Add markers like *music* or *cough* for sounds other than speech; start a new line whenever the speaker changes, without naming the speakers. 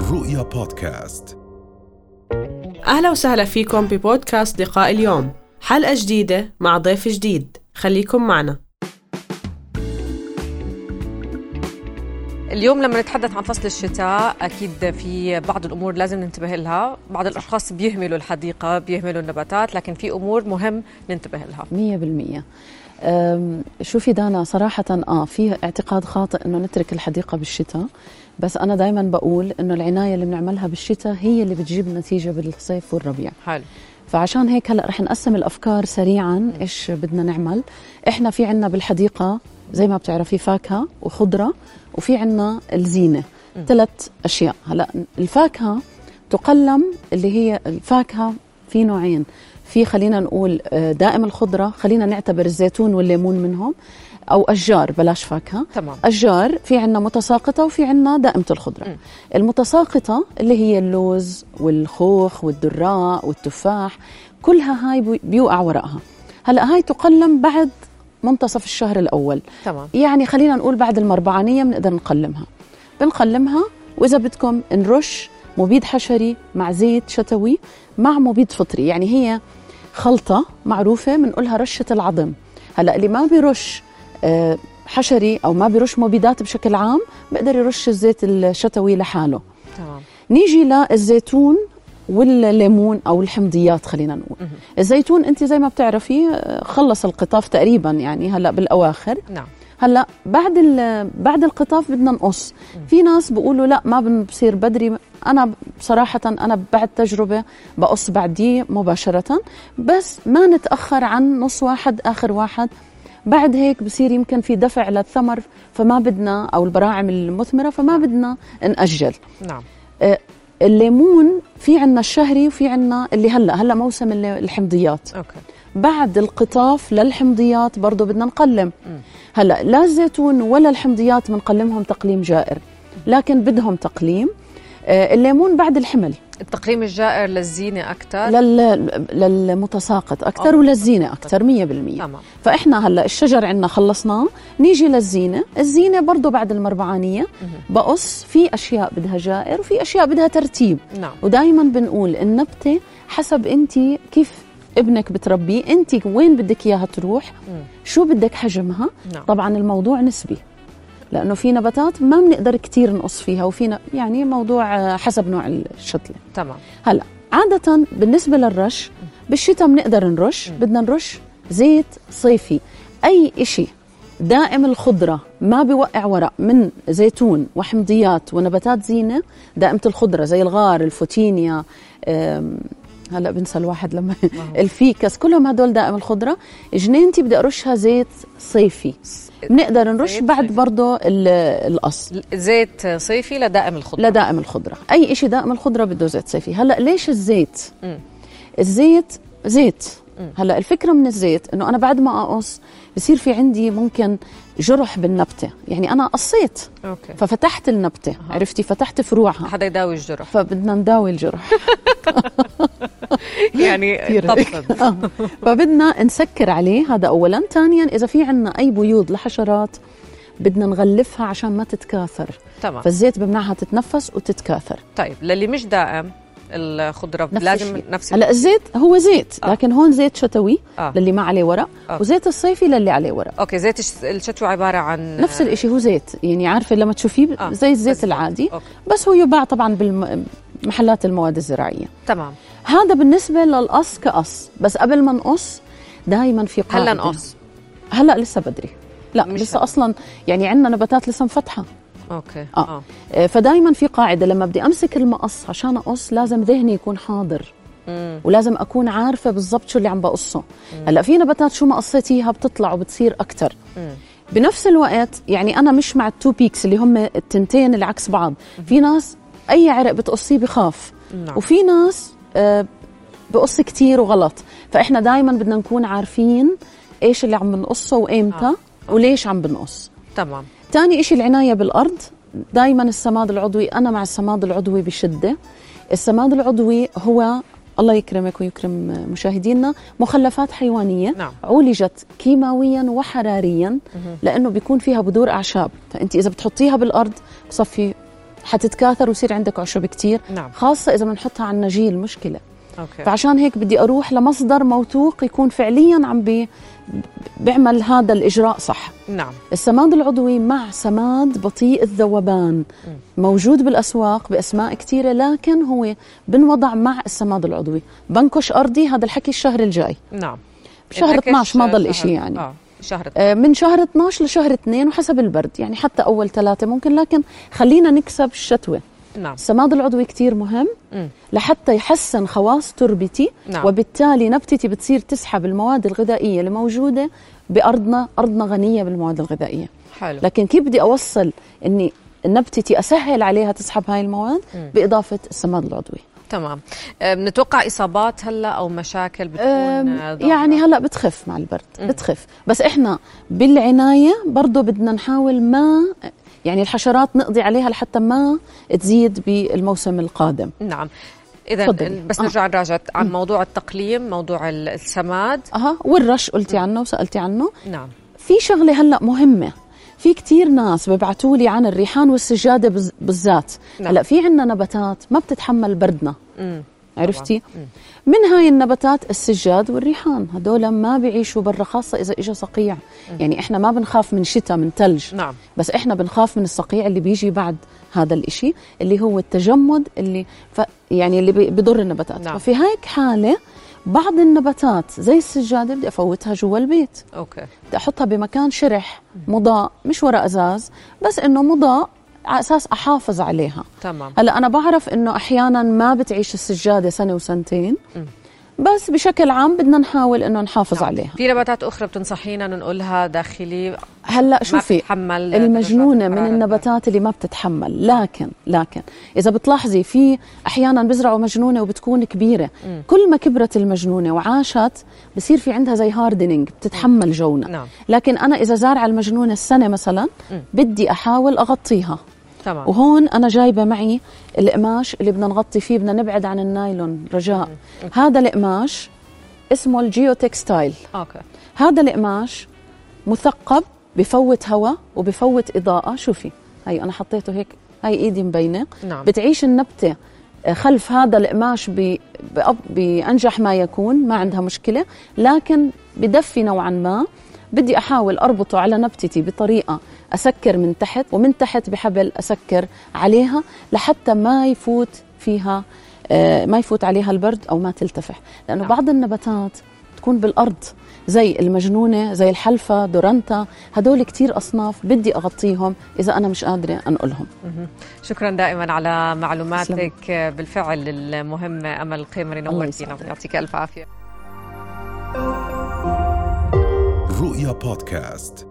الرؤيا بودكاست
أهلا وسهلا فيكم ببودكاست لقاء اليوم حلقة جديدة مع ضيف جديد خليكم معنا
اليوم لما نتحدث عن فصل الشتاء اكيد في بعض الامور لازم ننتبه لها بعض الاشخاص بيهملوا الحديقه بيهملوا النباتات لكن في امور مهم ننتبه لها
مية بالمية أم، شوفي دانا صراحة اه في اعتقاد خاطئ انه نترك الحديقة بالشتاء بس انا دائما بقول انه العناية اللي بنعملها بالشتاء هي اللي بتجيب نتيجة بالصيف والربيع
حلو
فعشان هيك هلا رح نقسم الافكار سريعا ايش بدنا نعمل احنا في عنا بالحديقه زي ما بتعرفي فاكهه وخضره وفي عنا الزينه ثلاث اشياء هلا الفاكهه تقلم اللي هي الفاكهه في نوعين في خلينا نقول آه، دائم الخضره خلينا نعتبر الزيتون والليمون منهم او اشجار بلاش فاكهه
تمام
أشجار في عنا متساقطة وفي عنا دائمة الخضرة
مم.
المتساقطة اللي هي اللوز والخوخ والدراء والتفاح كلها هاي بي- بيوقع ورقها هلأ هاي تقلم بعد منتصف الشهر الأول
تمام
يعني خلينا نقول بعد المربعانية بنقدر نقلمها بنقلمها وإذا بدكم نرش مبيد حشري مع زيت شتوي مع مبيد فطري يعني هي خلطة معروفة بنقولها رشة العظم هلا اللي ما بيرش آه، حشري أو ما بيرش مبيدات بشكل عام بقدر يرش الزيت الشتوي لحاله
تمام
نيجي للزيتون والليمون او الحمضيات خلينا نقول
مهم.
الزيتون انت زي ما بتعرفي آه، خلص القطاف تقريبا يعني هلا بالاواخر
نعم
هلا بعد ال- بعد القطاف بدنا نقص في ناس بيقولوا لا ما بنصير بدري انا بصراحه انا بعد تجربه بقص بعديه مباشره بس ما نتاخر عن نص واحد اخر واحد بعد هيك بصير يمكن في دفع للثمر فما بدنا او البراعم المثمره فما بدنا ناجل
نعم
الليمون في عنا الشهري وفي عنا اللي هلا هلا موسم ال- الحمضيات
اوكي
بعد القطاف للحمضيات برضه بدنا نقلم
مم.
هلا لا الزيتون ولا الحمضيات بنقلمهم تقليم جائر لكن بدهم تقليم آه، الليمون بعد الحمل
التقليم الجائر للزينه اكثر
لل... للمتساقط اكثر
آه.
وللزينه اكثر 100%
تمام
فاحنا هلا الشجر عندنا خلصناه نيجي للزينه الزينه برضه بعد المربعانيه
مهم.
بقص في اشياء بدها جائر وفي اشياء بدها ترتيب
نعم
ودائما بنقول النبتة حسب انت كيف ابنك بتربيه انت وين بدك اياها تروح
مم.
شو بدك حجمها
نعم
طبعا الموضوع نسبي لانه في نباتات ما بنقدر كتير نقص فيها وفي ن- يعني موضوع آه، حسب نوع الشتله
تمام
عاده بالنسبه للرش بالشتاء بنقدر نرش بدنا نرش زيت صيفي اي إشي دائم الخضره ما بيوقع ورق من زيتون وحمضيات ونباتات زينه دائمه الخضره زي الغار الفوتينيا أم، هلا بنسى الواحد لما *laughs* الفيكس كلهم هدول دائم الخضره جنينتي بدي ارشها زيت صيفي بنقدر نرش
زيت
بعد
صيفي.
برضه ال- القص
زيت صيفي لدائم الخضره
لدائم الخضرة أي شيء دائم الخضرة بده زيت صيفي هلأ ليش الزيت؟
مم.
الزيت زيت
مم.
هلا الفكره من الزيت انه انا بعد ما اقص بصير في عندي ممكن جرح بالنبته يعني انا قصيت
اوكي
ففتحت النبته
أها.
عرفتي فتحت فروعها
حدا يداوي
*laughs*
الجرح
فبدنا
*laughs*
نداوي الجرح
يعني
*laughs* كثير.
طبطب
آه. فبدنا نسكر عليه هذا اولا ثانيا اذا في عنا اي بيوض لحشرات بدنا نغلفها عشان ما تتكاثر
تمام
فالزيت بمنعها تتنفس وتتكاثر
طيب للي مش دائم الخضره
نفس
لازم
الشيء.
نفس
هلا الزيت هو زيت
آه.
لكن هون زيت شتوي
آه.
للي ما عليه ورق
آه.
وزيت الصيفي للي عليه ورق
اوكي زيت الش- الشتوى عباره عن
نفس الإشي هو زيت يعني عارفة لما تشوفيه
آه،
زي الزيت
بس-
العادي
اوكي
بس هو يباع طبعا بالمحلات المواد الزراعية
تمام
هذا بالنسبة للقص كقص بس قبل ما نقص دائما في قاعدة
هلا نقص
هلا لسه بدري لا
مش
لسه
هلأ.
اصلا يعني عندنا نباتات لسه مفتحه
اوكي
آه. آه، فدايما في قاعده لما بدي امسك المقص عشان اقص لازم ذهني يكون حاضر
مم.
ولازم اكون عارفه بالضبط شو اللي عم بقصه هلا في نباتات شو ما قصيتيها بتطلع وبتصير اكثر
مم.
بنفس الوقت يعني انا مش مع التو بيكس اللي هم التنتين اللي عكس بعض في ناس اي عرق بتقصيه بخاف
نعم
وفي ناس آه، بقص كتير وغلط فاحنا دائما بدنا نكون عارفين ايش اللي عم بنقصه
آه.
وايمتى وليش عم بنقص
تمام
تاني إشي العناية بالأرض دايما السماد العضوي أنا مع السماد العضوي بشدة السماد العضوي هو الله يكرمك ويكرم مشاهدينا مخلفات حيوانية
نعم.
عولجت كيماويا وحراريا لأنه بيكون فيها بذور أعشاب فأنت إذا بتحطيها بالأرض بصفي حتتكاثر ويصير عندك عشب كتير
نعم
خاصة إذا بنحطها على النجيل مشكلة
اوكي
فعشان هيك بدي أروح لمصدر موثوق يكون فعليا عم بي بيعمل هذا الإجراء صح
نعم
السماد العضوي مع سماد بطيء الذوبان موجود بالأسواق بأسماء كثيرة لكن هو بنوضع مع السماد العضوي بنكش أرضي هذا الحكي الشهر الجاي
نعم
بشهر
انعكس
12 ما ضل
شهر-
إشي يعني.
اه شهر
آه، من شهر 12 لشهر 2 وحسب البرد يعني حتى أول ثلاثة ممكن لكن خلينا نكسب الشتوى
نعم
السماد العضوي كتير مهم
مم.
لحتى يحسن خواص تربتي
نعم.
وبالتالي نبتتي بتصير تسحب المواد الغذائية اللي موجودة بأرضنا أرضنا غنية بالمواد الغذائية
نعم، حلو
لكن كيف بدي أوصل أني نبتتي أسهل عليها تسحب هاي المواد بإضافة السماد العضوي
تمام آه، بنتوقع اصابات هلا او مشاكل بتكون
أم،
آه، ظاهرة؟
يعني هلا بتخف مع البرد بتخف بس احنا بالعنايه برضه بدنا نحاول ما يعني الحشرات نقضي عليها لحتى ما تزيد بالموسم القادم
نعم اذا
تفضلي.
بس
آه.
نرجع نراجع عن موضوع التقليم موضوع ال- السماد
اها والرش قلتي عنه وسالتي عنه
نعم
في شغله هلا مهمه في كتير ناس ببعتوا لي عن الريحان والسجاده بز- بالذات
نعم.
هلا في عندنا نباتات ما بتتحمل بردنا
امم
عرفتي من هاي النباتات السجاد والريحان هدول ما بيعيشوا برا خاصه اذا اجى صقيع يعني احنا ما بنخاف من شتاء من ثلج
نعم
بس احنا بنخاف من الصقيع اللي بيجي بعد هذا الإشي اللي هو التجمد اللي ف يعني اللي بي- بضر النباتات
نعم.
نعم. ففي هيك حالة بعض النباتات زي السجادة بدي أفوتها جوا البيت
اوكي
بدي أحطها بمكان شرح مضاء مش ورا أزاز بس إنه مضاء على أساس أحافظ عليها
تمام
هلا أنا بعرف إنه أحيانا ما بتعيش السجادة سنة وسنتين بس بشكل عام بدنا نحاول إنه نحافظ عليها
في نباتات اخرى بتنصحينا ننقلها داخلي
هلا
ما
شوفي
بتتحمل
المجنونه
درجات
من
الحرارة.
النباتات اللي ما بتتحمل لكن لكن اذا بتلاحظي في احيانا بزرعوا مجنونه وبتكون كبيره
مم.
كل ما كبرت المجنونه وعاشت بصير في عندها زي هاردنينج بتتحمل جونا
نعم
لكن انا اذا زارعه المجنونه السنه مثلا
مم. آه.
بدي احاول اغطيها
تمام
وهون انا جايبه معي القماش اللي بدنا نغطي فيه بدنا نبعد عن النايلون رجاء هذا القماش اسمه الجيو تكستايل
اوكي
هذا القماش مثقب بفوت هواء وبفوت إضاءة شوفي هي أنا حطيته هيك هاي إيدي مبينة
نعم
بتعيش النبتة آه، خلف هذا القماش ب- بأب- بأنجح ما يكون ما عندها مشكلة لكن بدفي نوعا ما بدي أحاول أربطه على نبتتي بطريقة أسكر من تحت ومن تحت بحبل أسكر عليها لحتى ما يفوت فيها آه، ما يفوت عليها البرد أو ما تلتفح لأنه
نعم.
بعض النباتات تكون بالأرض زي المجنونة زي الحلفة دورانتا هدول كتير أصناف بدي أغطيهم إذا أنا مش قادرة أنقلهم
شكرا دائما على معلوماتك بالفعل المهمه امل قمري
الله
نورتينا
يسعدك.
يعطيك الف عافيه
رؤيا بودكاست